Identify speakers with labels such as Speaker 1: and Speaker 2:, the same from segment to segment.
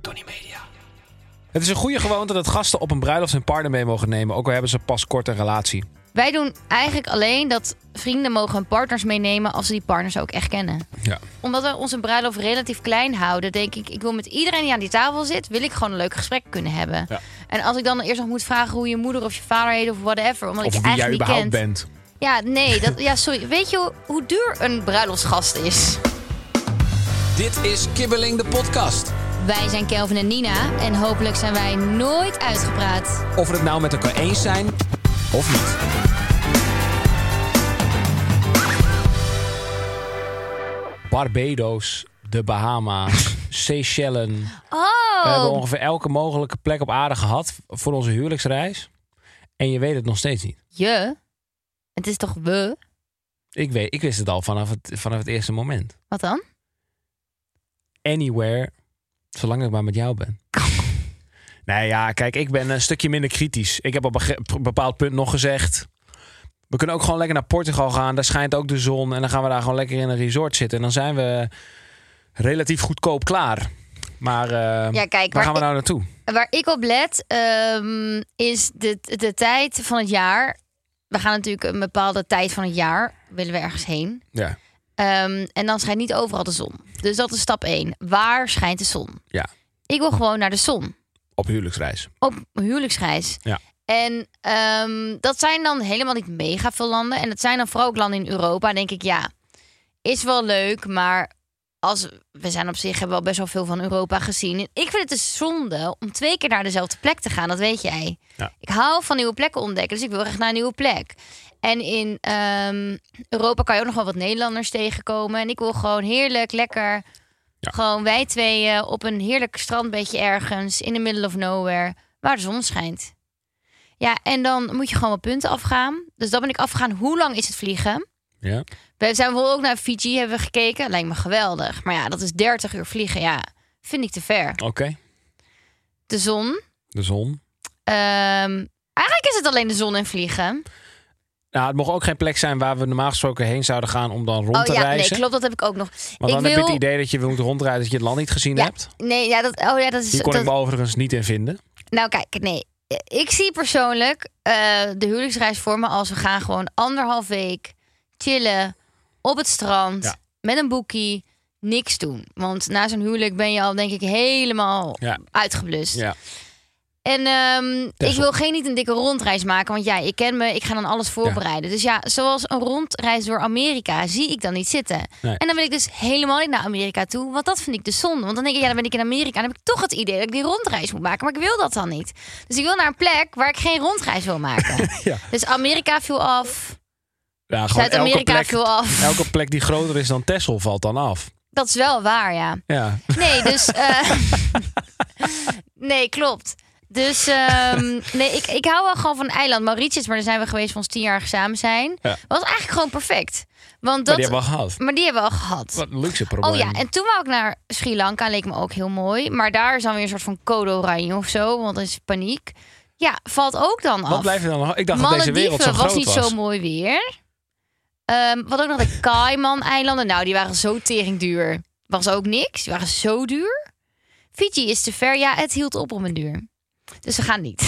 Speaker 1: Tony Media. Het is een goede gewoonte dat gasten op een bruiloft hun partner mee mogen nemen, ook al hebben ze pas kort een relatie.
Speaker 2: Wij doen eigenlijk alleen dat vrienden mogen hun partners meenemen als ze die partners ook echt kennen.
Speaker 1: Ja.
Speaker 2: Omdat we onze bruiloft relatief klein houden, denk ik, ik wil met iedereen die aan die tafel zit, wil ik gewoon een leuk gesprek kunnen hebben.
Speaker 1: Ja.
Speaker 2: En als ik dan eerst nog moet vragen hoe je moeder of je vader heet of whatever, omdat ik
Speaker 1: Of
Speaker 2: je
Speaker 1: wie jij
Speaker 2: eigenlijk niet
Speaker 1: überhaupt
Speaker 2: kent.
Speaker 1: bent.
Speaker 2: Ja, nee, dat, ja, sorry. Weet je hoe, hoe duur een bruiloftsgast is?
Speaker 3: Dit is Kibbeling de podcast.
Speaker 2: Wij zijn Kelvin en Nina en hopelijk zijn wij nooit uitgepraat.
Speaker 3: Of we het nou met elkaar eens zijn of niet.
Speaker 1: Barbados, de Bahama's, Seychellen. We hebben
Speaker 2: Oh,
Speaker 1: ongeveer elke mogelijke plek op aarde gehad voor onze huwelijksreis. En je weet het nog steeds niet.
Speaker 2: je. Het is toch we?
Speaker 1: Ik, weet, ik wist het al vanaf het, vanaf het eerste moment.
Speaker 2: Wat dan?
Speaker 1: Anywhere, zolang ik maar met jou ben. nou ja, kijk, ik ben een stukje minder kritisch. Ik heb op een ge- p- bepaald punt nog gezegd... We kunnen ook gewoon lekker naar Portugal gaan. Daar schijnt ook de zon. En dan gaan we daar gewoon lekker in een resort zitten. En dan zijn we relatief goedkoop klaar. Maar eh,
Speaker 2: Ja, kijk,
Speaker 1: waar
Speaker 2: waar
Speaker 1: gaan we
Speaker 2: ik-
Speaker 1: nou naartoe?
Speaker 2: Waar ik op let ehm, is de, de tijd van het jaar. We gaan natuurlijk een bepaalde tijd van het jaar. Willen we ergens heen.
Speaker 1: Ja,
Speaker 2: Ehm, en dan schijnt niet overal de zon. Dus dat is stap 1. Waar schijnt de zon?
Speaker 1: Ja.
Speaker 2: Ik wil gewoon naar de zon.
Speaker 1: op huwelijksreis.
Speaker 2: Op huwelijksreis.
Speaker 1: Ja.
Speaker 2: En ehm, dat zijn dan helemaal niet mega veel landen. En dat zijn dan vooral ook landen in Europa. Dan Denk ik, ja, is wel leuk. Maar als, we zijn op zich hebben we al best wel veel van Europa gezien. En ik vind het dus zonde om twee keer naar dezelfde plek te gaan. Dat weet jij.
Speaker 1: Ja.
Speaker 2: Ik hou van nieuwe plekken ontdekken. Dus ik wil echt naar een nieuwe plek. En in ehm, Europa kan je ook nog wel wat Nederlanders tegenkomen. En ik wil gewoon heerlijk, lekker.
Speaker 1: Ja.
Speaker 2: Gewoon wij tweeën op een heerlijk strandbeetje ergens. In the middle of nowhere. Waar de zon schijnt. Ja, en dan moet je gewoon wat punten afgaan. Dus dan ben ik afgegaan. Hoe lang is het vliegen?
Speaker 1: Ja.
Speaker 2: We zijn bijvoorbeeld ook naar Fiji hebben we gekeken. Lijkt me geweldig. Maar ja, dat is 30 uur vliegen. Ja, vind ik te ver.
Speaker 1: Oké,
Speaker 2: De zon.
Speaker 1: de zon.
Speaker 2: ehm, eigenlijk is het alleen de zon en vliegen.
Speaker 1: Nou, het mocht ook geen plek zijn waar we normaal gesproken heen zouden gaan om dan rond
Speaker 2: oh
Speaker 1: te
Speaker 2: ja,
Speaker 1: reizen.
Speaker 2: nee, klopt. Dat heb ik ook nog.
Speaker 1: Want
Speaker 2: ik
Speaker 1: dan heb je het idee dat je moet rondrijden dat je het land niet gezien
Speaker 2: Ja,
Speaker 1: hebt.
Speaker 2: Nee, ja, dat, oh ja, dat is.
Speaker 1: Die kon
Speaker 2: dat-
Speaker 1: ik me overigens niet in vinden.
Speaker 2: Nou, kijk, nee. Ik zie persoonlijk eh, de huwelijksreis voor me als we gaan gewoon anderhalf week chillen op het strand
Speaker 1: Ja.
Speaker 2: met een boekie, niks doen. Want na zo'n huwelijk ben je al, denk ik, helemaal
Speaker 1: Ja.
Speaker 2: uitgeblust.
Speaker 1: Ja.
Speaker 2: En ehm, ik wil geen niet een dikke rondreis maken, want ja, je kent me, ik ga dan alles voorbereiden. Dus ja, zoals een rondreis door Amerika zie ik dan niet zitten.
Speaker 1: Nee.
Speaker 2: En dan wil ik dus helemaal niet naar Amerika toe, want dat vind ik dus zonde. Want dan denk ik, ja, dan ben ik in Amerika en dan heb ik toch het idee dat ik die rondreis moet maken, maar ik wil dat dan niet. Dus ik wil naar een plek waar ik geen rondreis wil maken.
Speaker 1: Ja.
Speaker 2: Dus Amerika viel af,
Speaker 1: Ja, gewoon elke
Speaker 2: Zuid-Amerika
Speaker 1: plek,
Speaker 2: viel af.
Speaker 1: elke plek die groter is dan Texel valt dan af.
Speaker 2: Dat is wel waar, ja.
Speaker 1: Ja.
Speaker 2: Nee, dus. eh, nee, klopt. Dus ehm, nee, ik, ik hou wel gewoon van eiland Mauritius, maar daar zijn we geweest van ons tien jaar samen zijn.
Speaker 1: Ja.
Speaker 2: Was eigenlijk gewoon perfect.
Speaker 1: Maar
Speaker 2: Want dat,
Speaker 1: die hebben we al gehad.
Speaker 2: maar die hebben we al gehad.
Speaker 1: Wat een luxe probleem.
Speaker 2: Oh ja, en toen wou ik naar Sri Lanka, leek me ook heel mooi. Maar daar is dan weer een soort van code oranje of zo, want dat is paniek. Ja, valt ook dan af.
Speaker 1: Wat blijft er dan? Ik dacht dat deze
Speaker 2: Malediven
Speaker 1: wereld zo groot
Speaker 2: was
Speaker 1: was.
Speaker 2: niet zo mooi weer. Ehm, wat ook nog de Cayman-eilanden. Nou, die waren zo teringduur. Was ook niks. Die waren zo duur. Fiji is te ver. Ja, het hield op om een duur. Dus we gaan niet.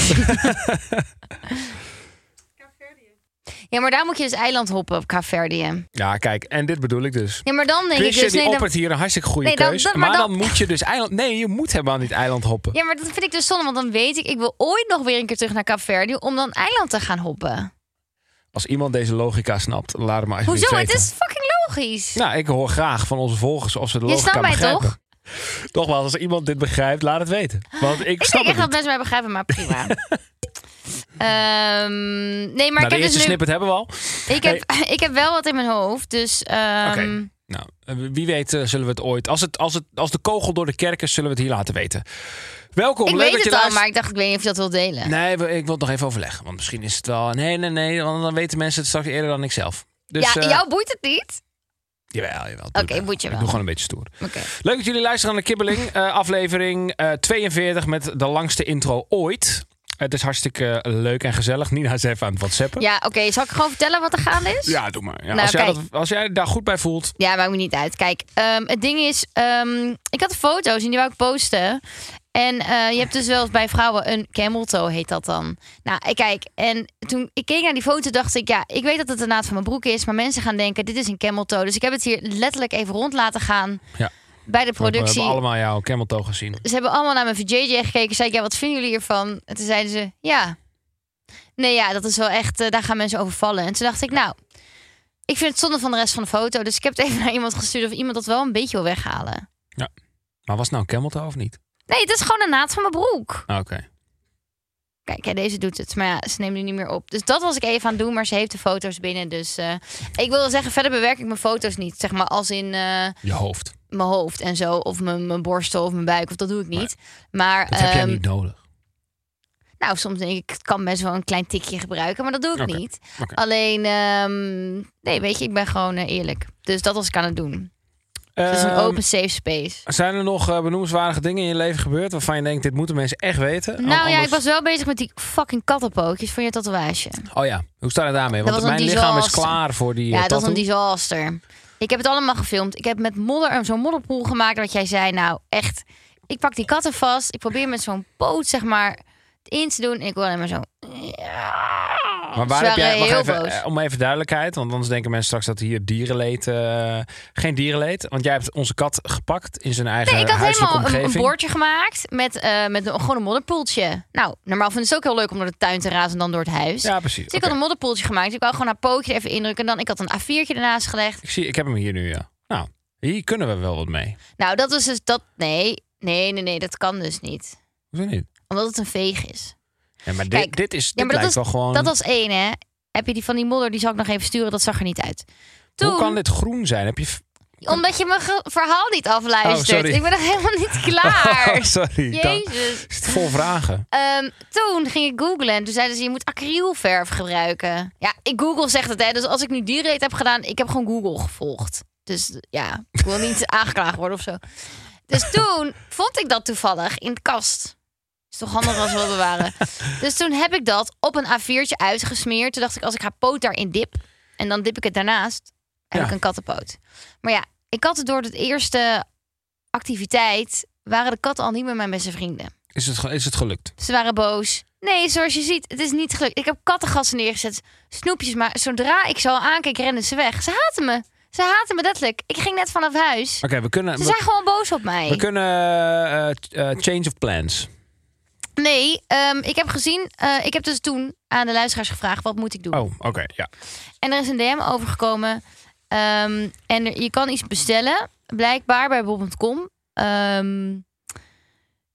Speaker 2: ja, maar daar moet je dus eiland hoppen op Caverdië.
Speaker 1: Ja, kijk, en dit bedoel ik dus.
Speaker 2: Ja, maar dan denk
Speaker 1: Christian
Speaker 2: ik dus...
Speaker 1: die
Speaker 2: dan-
Speaker 1: oppert hier een hartstikke goede
Speaker 2: Nee, dan-
Speaker 1: keus.
Speaker 2: dat-
Speaker 1: maar
Speaker 2: maar
Speaker 1: dan,
Speaker 2: dan-
Speaker 1: moet je dus eiland... Nee, je moet helemaal niet eiland hoppen.
Speaker 2: Ja, maar dat vind ik dus zonde. Want dan weet ik, ik wil ooit nog weer een keer terug naar Caverdië... om dan eiland te gaan hoppen.
Speaker 1: Als iemand deze logica snapt, laat hem maar alsjeblieft
Speaker 2: Hoezo? Het
Speaker 1: weten.
Speaker 2: is fucking logisch.
Speaker 1: Nou, ik hoor graag van onze volgers of ze de
Speaker 2: Je
Speaker 1: logica
Speaker 2: snapt mij
Speaker 1: begrijpen.
Speaker 2: toch?
Speaker 1: Nogmaals, als iemand dit begrijpt, laat het weten. Want ik,
Speaker 2: Ik
Speaker 1: snap
Speaker 2: denk
Speaker 1: het
Speaker 2: echt dat
Speaker 1: niet.
Speaker 2: mensen mij begrijpen, maar prima. Ehm, nee, maar
Speaker 1: Nou,
Speaker 2: ik
Speaker 1: de
Speaker 2: heb
Speaker 1: Nou, eerste
Speaker 2: dus nu...
Speaker 1: snippet hebben we al.
Speaker 2: Ik heb, ik heb wel wat in mijn hoofd, dus... ehm,
Speaker 1: Oké. Nou, eh, wie weet eh, zullen we het ooit... Als, het, als, het, als de kogel door de kerk is, zullen we het hier laten weten. Welkom,
Speaker 2: ik
Speaker 1: leuk dat
Speaker 2: weet
Speaker 1: je
Speaker 2: het al,
Speaker 1: luistert.
Speaker 2: maar ik dacht, ik weet niet of je dat wil delen.
Speaker 1: Nee, we- ik wil het nog even overleggen. Want misschien is het wel... Nee, nee, nee, want dan weten mensen het straks eerder dan ik zelf. Dus,
Speaker 2: ja,
Speaker 1: eh,
Speaker 2: jou boeit het niet?
Speaker 1: Jawel, jawel.
Speaker 2: Oké, moet je
Speaker 1: Ik
Speaker 2: wel.
Speaker 1: doe gewoon een beetje stoer.
Speaker 2: Oké.
Speaker 1: Leuk dat jullie luisteren naar de Kibbeling. eh, aflevering eh, 42 met de langste intro ooit. Het is hartstikke eh, leuk en gezellig. Nina is even aan het whatsappen.
Speaker 2: Ja, oké. Zal ik gewoon vertellen wat er gaande is?
Speaker 1: Ja, doe maar. Ja,
Speaker 2: Nou,
Speaker 1: als, jij
Speaker 2: kijk.
Speaker 1: dat, als jij daar goed bij voelt.
Speaker 2: Ja, maakt me niet uit. Kijk, ehm, het ding is, ehm, ik had foto's en die wou ik posten. En eh, je hebt dus wel eens bij vrouwen een camel toe, heet dat dan. Nou, ik kijk, en toen ik keek naar die foto, dacht ik, ja, ik weet dat het de naad van mijn broek is. Maar mensen gaan denken, dit is een camel toe. Dus ik heb het hier letterlijk even rond laten gaan
Speaker 1: Ja.
Speaker 2: bij de
Speaker 1: We
Speaker 2: productie.
Speaker 1: hebben allemaal jouw camel toe gezien.
Speaker 2: Ze hebben allemaal naar mijn VJJ gekeken. Zei ik, ja, wat vinden jullie hiervan? En toen zeiden ze, ja. Nee, ja, dat is wel echt, eh, daar gaan mensen over vallen. En toen dacht ik, nou, ik vind het zonde van de rest van de foto. Dus ik heb het even naar iemand gestuurd of iemand dat wel een beetje wil weghalen.
Speaker 1: Maar was het nou een camel toe of niet?
Speaker 2: Nee, het is gewoon een naad van mijn broek.
Speaker 1: Ah, Oké.
Speaker 2: Kijk, hè, deze doet het. Maar ja, ze neemt nu niet meer op. Dus dat was ik even aan het doen, maar ze heeft de foto's binnen. Dus eh, ik wil wel zeggen, verder bewerk ik mijn foto's niet. Zeg maar als in eh,
Speaker 1: Je hoofd.
Speaker 2: mijn hoofd en zo. Of mijn, mijn borstel of mijn buik. Of dat doe ik niet. Maar
Speaker 1: Dat heb jij
Speaker 2: ehm,
Speaker 1: niet nodig.
Speaker 2: Nou, soms denk ik, het kan best wel een klein tikje gebruiken, maar dat doe ik
Speaker 1: Oké,
Speaker 2: niet.
Speaker 1: oké.
Speaker 2: Alleen, ehm, nee, weet je, ik ben gewoon eh, eerlijk. Dus dat was ik aan het doen. Het is een
Speaker 1: Ehm,
Speaker 2: open safe space.
Speaker 1: Zijn er nog eh, benoemenswaardige dingen in je leven gebeurd waarvan je denkt, dit moeten mensen echt weten?
Speaker 2: Nou ja,
Speaker 1: Anders-
Speaker 2: ik was wel bezig met die fucking kattenpootjes van je tatoeage.
Speaker 1: Oh ja, hoe staat het daarmee? Want
Speaker 2: Dat was
Speaker 1: mijn
Speaker 2: een
Speaker 1: lichaam is
Speaker 2: disaster.
Speaker 1: klaar voor die eh,
Speaker 2: Ja, dat was
Speaker 1: tattoo.
Speaker 2: een disaster. Ik heb het allemaal gefilmd. Ik heb met modder een- zo'n modderpoel gemaakt wat jij zei. Nou, echt, ik pak die katten vast. Ik probeer met zo'n poot, zeg maar, in te doen. En ik wil alleen maar zo...
Speaker 1: Maar
Speaker 2: Ze
Speaker 1: waar heb jij,
Speaker 2: waren
Speaker 1: wacht
Speaker 2: heel
Speaker 1: even,
Speaker 2: boos.
Speaker 1: eh, om even duidelijkheid, want anders denken mensen straks dat hier dierenleed, eh, geen dierenleed. Want jij hebt onze kat gepakt in zijn eigen
Speaker 2: Nee, ik had
Speaker 1: huiselijke
Speaker 2: helemaal een,
Speaker 1: omgeving.
Speaker 2: een bordje gemaakt met, eh, met een, gewoon een modderpoeltje. Nou, normaal vinden ze het ook heel leuk om door de tuin te razen en dan door het huis.
Speaker 1: Ja, precies.
Speaker 2: Dus ik
Speaker 1: Oké.
Speaker 2: had een modderpoeltje gemaakt. Dus ik wou gewoon haar pootje even indrukken. En dan, ik had een A4'tje ernaast gelegd.
Speaker 1: ik, zie, ik heb hem hier nu, ja. Nou, hier kunnen we wel wat mee.
Speaker 2: Nou, dat was dus dat... Nee, nee, nee, nee, dat kan dus niet.
Speaker 1: Hoezo niet?
Speaker 2: Omdat het een veeg is.
Speaker 1: Ja, maar dit,
Speaker 2: Kijk,
Speaker 1: dit is, dit
Speaker 2: maar dat
Speaker 1: lijkt
Speaker 2: is-
Speaker 1: wel gewoon...
Speaker 2: Dat was één, hè. Heb je die van die modder, die zal ik nog even sturen. Dat zag er niet uit. Toen,
Speaker 1: Hoe kan dit groen zijn? Heb je... f-
Speaker 2: omdat je mijn ge- verhaal niet afluistert.
Speaker 1: Oh, sorry.
Speaker 2: ik ben nog helemaal niet klaar.
Speaker 1: Oh, sorry. Dan
Speaker 2: Jezus.
Speaker 1: is het vol vragen.
Speaker 2: Ehm, toen ging ik googlen en toen zeiden ze je moet acrylverf gebruiken. Ja, ik Google zegt het hè. Dus als ik nu dierenleed heb gedaan, ik heb gewoon Google gevolgd. Dus ja, ik wil niet aangeklaagd worden of zo. Dus toen vond ik dat toevallig in de kast. Is toch handig als we dat bewaren. Dus toen heb ik dat op een A4'tje uitgesmeerd. Toen dacht ik als ik haar poot daarin dip en dan dip ik het daarnaast, heb
Speaker 1: Ja.
Speaker 2: ik een kattenpoot. Maar ja, ik had het door de eerste activiteit waren de katten al niet meer mijn beste vrienden.
Speaker 1: Is het, ge- is het gelukt?
Speaker 2: Ze waren boos. Nee, zoals je ziet, het is niet gelukt. Ik heb kattengassen neergezet, snoepjes, maar zodra ik zo aankeek, renden ze weg. Ze haten me. Ze haten me letterlijk. Ik ging net vanaf huis.
Speaker 1: Oké, we kunnen... We,
Speaker 2: Ze zijn gewoon boos op mij.
Speaker 1: we kunnen eh, eh, change of plans.
Speaker 2: Nee, ehm, ik heb gezien, eh, ik heb dus toen aan de luisteraars gevraagd, wat moet ik doen?
Speaker 1: Oh, oké, ja.
Speaker 2: En er is een DM overgekomen. Ehm, en er- je kan iets bestellen, blijkbaar bij bob.com. Ehm,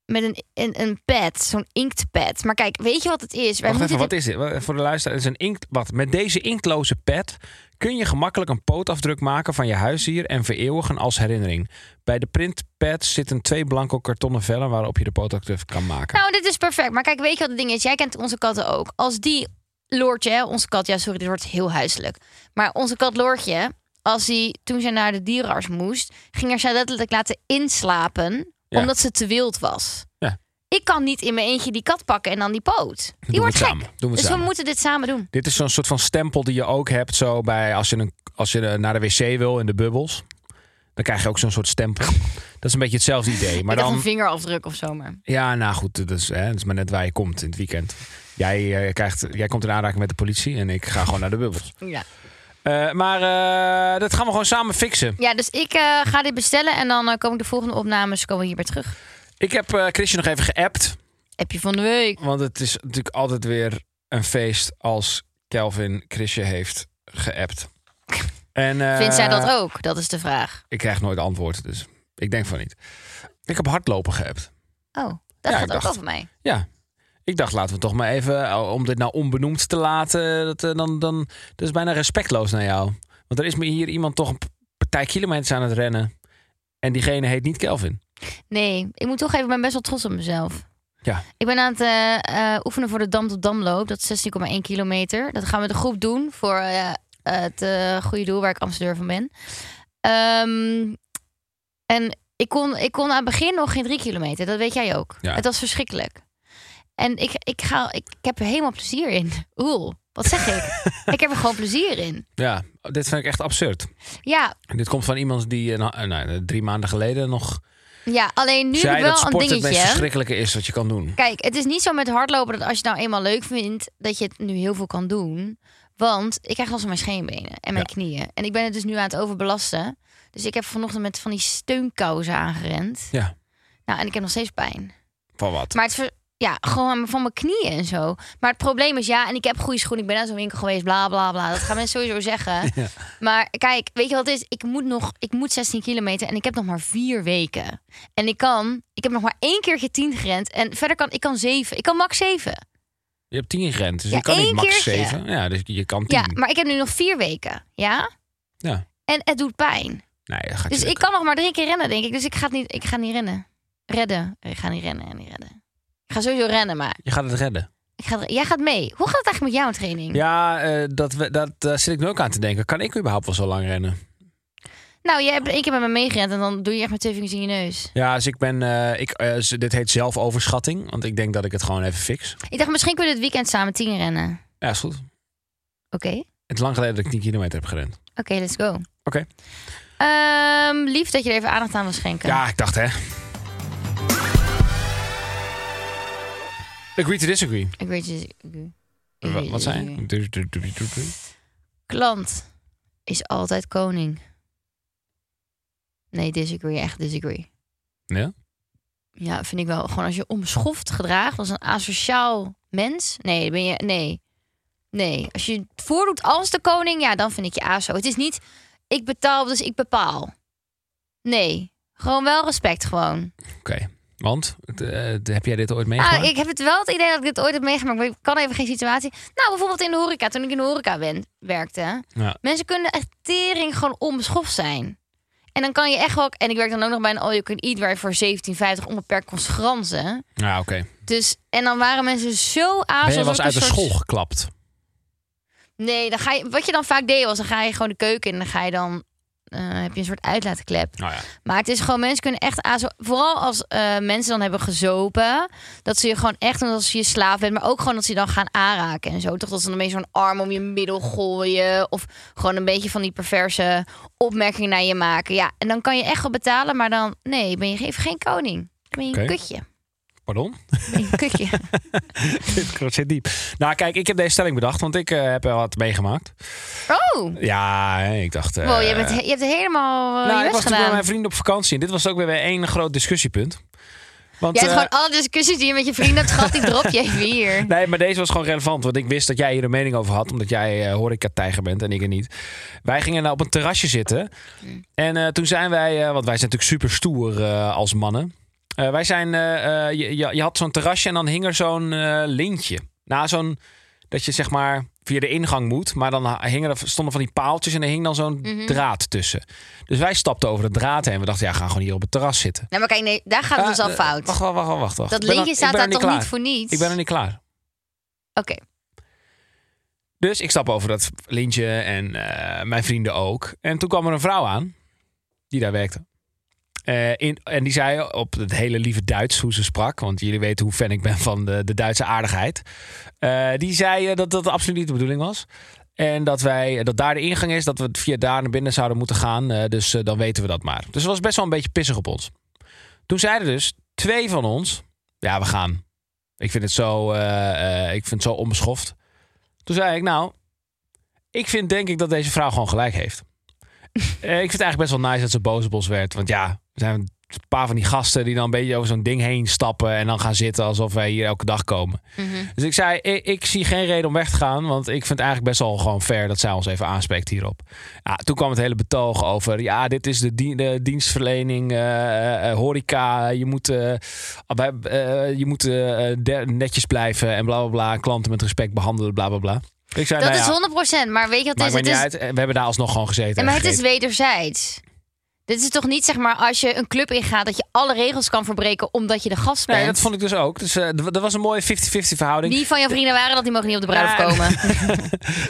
Speaker 2: met een, een, een pad, zo'n inktpad. Maar kijk, weet je wat het is? Wij
Speaker 1: Wacht even,
Speaker 2: moeten dit-
Speaker 1: wat is dit? Wa- Voor de luisteraar, het is een inkt. Wat? Met deze inktloze pet kun je gemakkelijk een pootafdruk maken van je huisdier en vereeuwigen als herinnering. Bij de printpad zitten twee blanco kartonnen vellen waarop je de pootafdruk kan maken.
Speaker 2: Nou, dit is perfect. Maar kijk, weet je wat het ding is? Jij kent onze katten ook. Als die Loortje, hè, onze kat, ja, sorry, dit wordt heel huiselijk. Maar onze kat Loortje, als die toen zij naar de dierenarts moest, ging er zij letterlijk laten inslapen,
Speaker 1: Ja.
Speaker 2: omdat ze te wild was.
Speaker 1: Ja.
Speaker 2: Ik kan niet in mijn eentje die kat pakken en dan die poot.
Speaker 1: Doen
Speaker 2: Die
Speaker 1: we
Speaker 2: wordt
Speaker 1: het
Speaker 2: gek.
Speaker 1: samen. Doen we het
Speaker 2: dus we
Speaker 1: samen.
Speaker 2: moeten dit samen doen.
Speaker 1: Dit is zo'n soort van stempel die je ook hebt zo bij als je, een, als je eh, naar de wc wil in de bubbels. Dan krijg je ook zo'n soort stempel. Dat is een beetje hetzelfde idee. Maar
Speaker 2: ik dacht
Speaker 1: dan,
Speaker 2: een vingerafdruk of zo, maar.
Speaker 1: Ja, nou goed, dat is, hè, dat is maar net waar je komt in het weekend. Jij, eh, krijgt, jij komt in aanraking met de politie en ik ga gewoon naar de bubbels.
Speaker 2: Ja.
Speaker 1: Eh, maar eh, dat gaan we gewoon samen fixen.
Speaker 2: ja, dus ik eh, ga dit bestellen en dan eh, kom ik de volgende opnames komen we hier weer terug.
Speaker 1: Ik heb eh Christian nog even geappt.
Speaker 2: Heb je van de week.
Speaker 1: Want het is natuurlijk altijd weer een feest als Kelvin Chrisje heeft geappt. En, eh,
Speaker 2: Vindt zij dat ook? Dat is de vraag.
Speaker 1: Ik krijg nooit antwoord, dus ik denk van niet. Ik heb hardlopen geappt.
Speaker 2: Oh,
Speaker 1: Ja,
Speaker 2: dat
Speaker 1: ik
Speaker 2: gaat ook
Speaker 1: dacht-
Speaker 2: over mij.
Speaker 1: Ja. Ik dacht, laten we toch maar even, eh, om dit nou onbenoemd te laten, dat, eh, dan, dan, dat is bijna respectloos naar jou. Want er is me hier iemand toch een p- partij kilometers aan het rennen. En diegene heet niet Kelvin.
Speaker 2: Nee, ik moet toch even, ik ben best wel trots op mezelf.
Speaker 1: Ja.
Speaker 2: Ik ben aan het eh, eh, oefenen voor de Dam tot Damloop. Dat is 16,1 kilometer. Dat gaan we met een groep doen voor eh, eh, het eh, goede doel waar ik ambassadeur van ben. Ehm, en ik kon, ik kon aan het begin nog geen drie kilometer. Dat weet jij ook.
Speaker 1: Ja.
Speaker 2: Het was verschrikkelijk. En ik, ik, ga, ik, ik heb er helemaal plezier in. Oeh, wat zeg ik? ik heb er gewoon plezier in.
Speaker 1: Ja, dit vind ik echt absurd.
Speaker 2: Ja,
Speaker 1: En dit komt van iemand die eh, nou, eh, nou, drie maanden geleden nog
Speaker 2: ja alleen nu heb
Speaker 1: zei
Speaker 2: ik
Speaker 1: dat
Speaker 2: wel een
Speaker 1: sport het meest
Speaker 2: dingetje.
Speaker 1: verschrikkelijke is wat je kan doen.
Speaker 2: Kijk, het is niet zo met hardlopen dat als je het nou eenmaal leuk vindt, dat je het nu heel veel kan doen. Want ik krijg last van mijn scheenbenen en mijn
Speaker 1: Ja.
Speaker 2: knieën. En ik ben het dus nu aan het overbelasten. Dus ik heb vanochtend met van die steunkousen aangerend.
Speaker 1: Ja.
Speaker 2: Nou, en ik heb nog steeds pijn.
Speaker 1: Van wat?
Speaker 2: Maar het ver- ja, gewoon aan- van mijn knieën en zo. Maar het probleem is, ja, en ik heb goede schoenen. Ik ben naar zo'n winkel geweest, bla bla bla. Dat gaan mensen sowieso zeggen.
Speaker 1: Ja.
Speaker 2: Maar kijk, weet je wat het is? Ik moet nog, ik moet 16 kilometer en ik heb nog maar vier weken. En ik kan, ik heb nog maar één keertje 10 gerend. En verder kan, ik kan zeven. Ik kan max zeven.
Speaker 1: Je hebt tien gerend, dus
Speaker 2: Ja,
Speaker 1: je kan niet
Speaker 2: één
Speaker 1: max
Speaker 2: keertje.
Speaker 1: zeven. Ja, dus je kan tien.
Speaker 2: Ja, maar ik heb nu nog vier weken. Ja?
Speaker 1: Ja.
Speaker 2: En het doet pijn.
Speaker 1: Nee, dat gaat je
Speaker 2: Dus ik
Speaker 1: lukken.
Speaker 2: kan nog maar drie keer rennen, denk ik. Dus ik ga het niet, ik ga niet rennen. Redden. Ik ga niet rennen en niet redden. Ik ga sowieso rennen, maar
Speaker 1: Je gaat het redden.
Speaker 2: ik ga, jij gaat mee. Hoe gaat het eigenlijk met jouw training?
Speaker 1: Ja, eh, dat, we- dat daar zit ik nu ook aan te denken. Kan ik überhaupt wel zo lang rennen?
Speaker 2: Nou, jij hebt één keer met me meegerend en dan doe je echt met twee vingers in je neus.
Speaker 1: Ja, dus ik ben... eh, ik, eh, z- dit heet zelfoverschatting, want ik denk dat ik het gewoon even fix.
Speaker 2: Ik dacht, misschien kunnen we het weekend samen tien rennen. Oké.
Speaker 1: Ja, is goed. Het is lang geleden dat ik 10 kilometer heb gerend.
Speaker 2: Oké, let's go.
Speaker 1: Oké.
Speaker 2: Ehm, lief dat je er even aandacht aan wil schenken.
Speaker 1: Ja, ik dacht hè. Agree to disagree.
Speaker 2: Ik weet je. ik- ik-
Speaker 1: Wa- Wat zei je? Du- du- du- du- du- du.
Speaker 2: Klant is altijd koning. Nee, disagree. Echt disagree.
Speaker 1: Ja?
Speaker 2: Ja, vind ik wel. Gewoon als je onbeschoft gedraagt als een asociaal mens. Nee, ben je. Nee. Nee. Als je het voordoet als de koning, ja, dan vind ik je aso. Het is niet. Ik betaal, dus ik bepaal. Nee. Gewoon wel respect, gewoon.
Speaker 1: Oké. Want? Het, eh, het- heb jij dit ooit meegemaakt?
Speaker 2: Ah, ik heb het wel het idee dat ik dit ooit heb meegemaakt, maar ik kan even geen situatie. Nou, bijvoorbeeld in de horeca, toen ik in de horeca wen- werkte.
Speaker 1: Ja.
Speaker 2: Mensen kunnen echt tering gewoon onbeschoft zijn. En dan kan je echt wel... En ik werk dan ook nog bij een all you can eat... waar je voor 17,50 onbeperkt kon schransen.
Speaker 1: Ja, oké.
Speaker 2: Dus, en dan waren mensen zo
Speaker 1: Ben
Speaker 2: aas.
Speaker 1: je
Speaker 2: als
Speaker 1: was
Speaker 2: ook
Speaker 1: uit de
Speaker 2: een soort-
Speaker 1: school geklapt?
Speaker 2: Nee, dan ga je, wat je dan vaak deed was... dan ga je gewoon de keuken in en dan ga je dan... eh, heb je een soort uitlaatklep.
Speaker 1: Nou ja.
Speaker 2: Maar het is gewoon, mensen kunnen echt azo. Vooral als eh, mensen dan hebben gezopen. Dat ze je gewoon echt, omdat ze je slaaf bent. Maar ook gewoon dat ze je dan gaan aanraken en zo. Toch dat ze dan een beetje zo'n arm om je middel gooien. Of gewoon een beetje van die perverse opmerkingen naar je maken. Ja, en dan kan je echt wel betalen. Maar dan, nee, ben je even geen koning. Dan ben je een
Speaker 1: Oké.
Speaker 2: kutje.
Speaker 1: Pardon?
Speaker 2: Dan Ben je een kutje.
Speaker 1: Dit zit diep. Nou kijk, ik heb deze stelling bedacht, want ik eh, heb er wat meegemaakt.
Speaker 2: oh,
Speaker 1: Ja, ik dacht... eh,
Speaker 2: wow, je, bent, he- je hebt helemaal eh,
Speaker 1: nou,
Speaker 2: je
Speaker 1: ik was
Speaker 2: best
Speaker 1: toen bij
Speaker 2: gedaan.
Speaker 1: mijn vrienden op vakantie en dit was ook weer weer één groot discussiepunt. Want,
Speaker 2: Jij hebt
Speaker 1: eh,
Speaker 2: gewoon alle discussies die je met je vrienden hebt gehad. Die drop je even hier.
Speaker 1: Nee, maar deze was gewoon relevant. Want ik wist dat jij hier een mening over had. Omdat jij eh, horeca-tijger bent en ik er niet. Wij gingen nou op een terrasje zitten. En eh, toen zijn wij... eh, want wij zijn natuurlijk super stoer eh, als mannen. Eh, wij zijn... eh, eh, je, je, je had zo'n terrasje en dan hing er zo'n eh, lintje. Nou, zo'n... Dat je zeg maar via de ingang moet. Maar dan ha- hingen er, stonden van die paaltjes en er hing dan zo'n
Speaker 2: Mhm.
Speaker 1: draad tussen. Dus wij stapten over de draad heen. We dachten, ja, we gaan gewoon hier op het terras zitten.
Speaker 2: Nou, maar kijk, nee, daar gaat het
Speaker 1: Ah,
Speaker 2: dus al
Speaker 1: eh,
Speaker 2: fout.
Speaker 1: Wacht, wacht, wacht. wacht, wacht.
Speaker 2: dat
Speaker 1: Ik ben
Speaker 2: linkje
Speaker 1: nog- ik
Speaker 2: staat
Speaker 1: ben
Speaker 2: daar
Speaker 1: nog
Speaker 2: toch
Speaker 1: klaar.
Speaker 2: niet voor niets?
Speaker 1: Ik ben er niet klaar.
Speaker 2: Oké.
Speaker 1: Dus ik stap over dat lintje en eh, mijn vrienden ook. En toen kwam er een vrouw aan die daar werkte. Eh, in, en die zei op het hele lieve Duits hoe ze sprak. Want jullie weten hoe fan ik ben van de, de Duitse aardigheid. Eh, die zei eh, dat dat absoluut niet de bedoeling was. En dat, wij, dat daar de ingang is, dat we via daar naar binnen zouden moeten gaan. Eh, dus eh, dan weten we dat maar. Dus het was best wel een beetje pissig op ons. Toen zeiden dus twee van ons: Ja, we gaan. Ik vind het zo, eh, eh, ik vind het zo onbeschoft. Toen zei ik: Nou, ik vind denk ik dat deze vrouw gewoon gelijk heeft. Eh, ik vind het eigenlijk best wel nice dat ze boos op ons werd. Want ja, er zijn een paar van die gasten die dan een beetje over zo'n ding heen stappen. En dan gaan zitten alsof wij hier elke dag komen.
Speaker 2: Mhm.
Speaker 1: Dus ik zei, ik, ik zie geen reden om weg te gaan. Want ik vind het eigenlijk best wel gewoon fair dat zij ons even aanspreekt hierop. Ja, toen kwam het hele betoog over. Ja, dit is de, dien- de dienstverlening, eh, eh, horeca. Je moet, eh, wij- eh, je moet eh, eh, de- netjes blijven en bla bla bla. Klanten met respect behandelen, bla bla bla. Ik zei,
Speaker 2: Dat
Speaker 1: nou ja,
Speaker 2: is 100%. Maar weet je wat het
Speaker 1: maakt me
Speaker 2: is? Dus Het
Speaker 1: niet
Speaker 2: is,
Speaker 1: uit. Eh, We hebben daar alsnog gewoon gezeten.
Speaker 2: Ja,
Speaker 1: en
Speaker 2: maar het is
Speaker 1: gegeten.
Speaker 2: wederzijds. Dit is toch niet zeg maar als je een club ingaat dat je alle regels kan verbreken omdat je de gast bent.
Speaker 1: Nee, dat vond ik dus ook. Dus eh, d- dat was een mooie 50-50 verhouding.
Speaker 2: Wie van jouw vrienden waren dat die mogen niet op de bruiloft
Speaker 1: Ja.
Speaker 2: komen?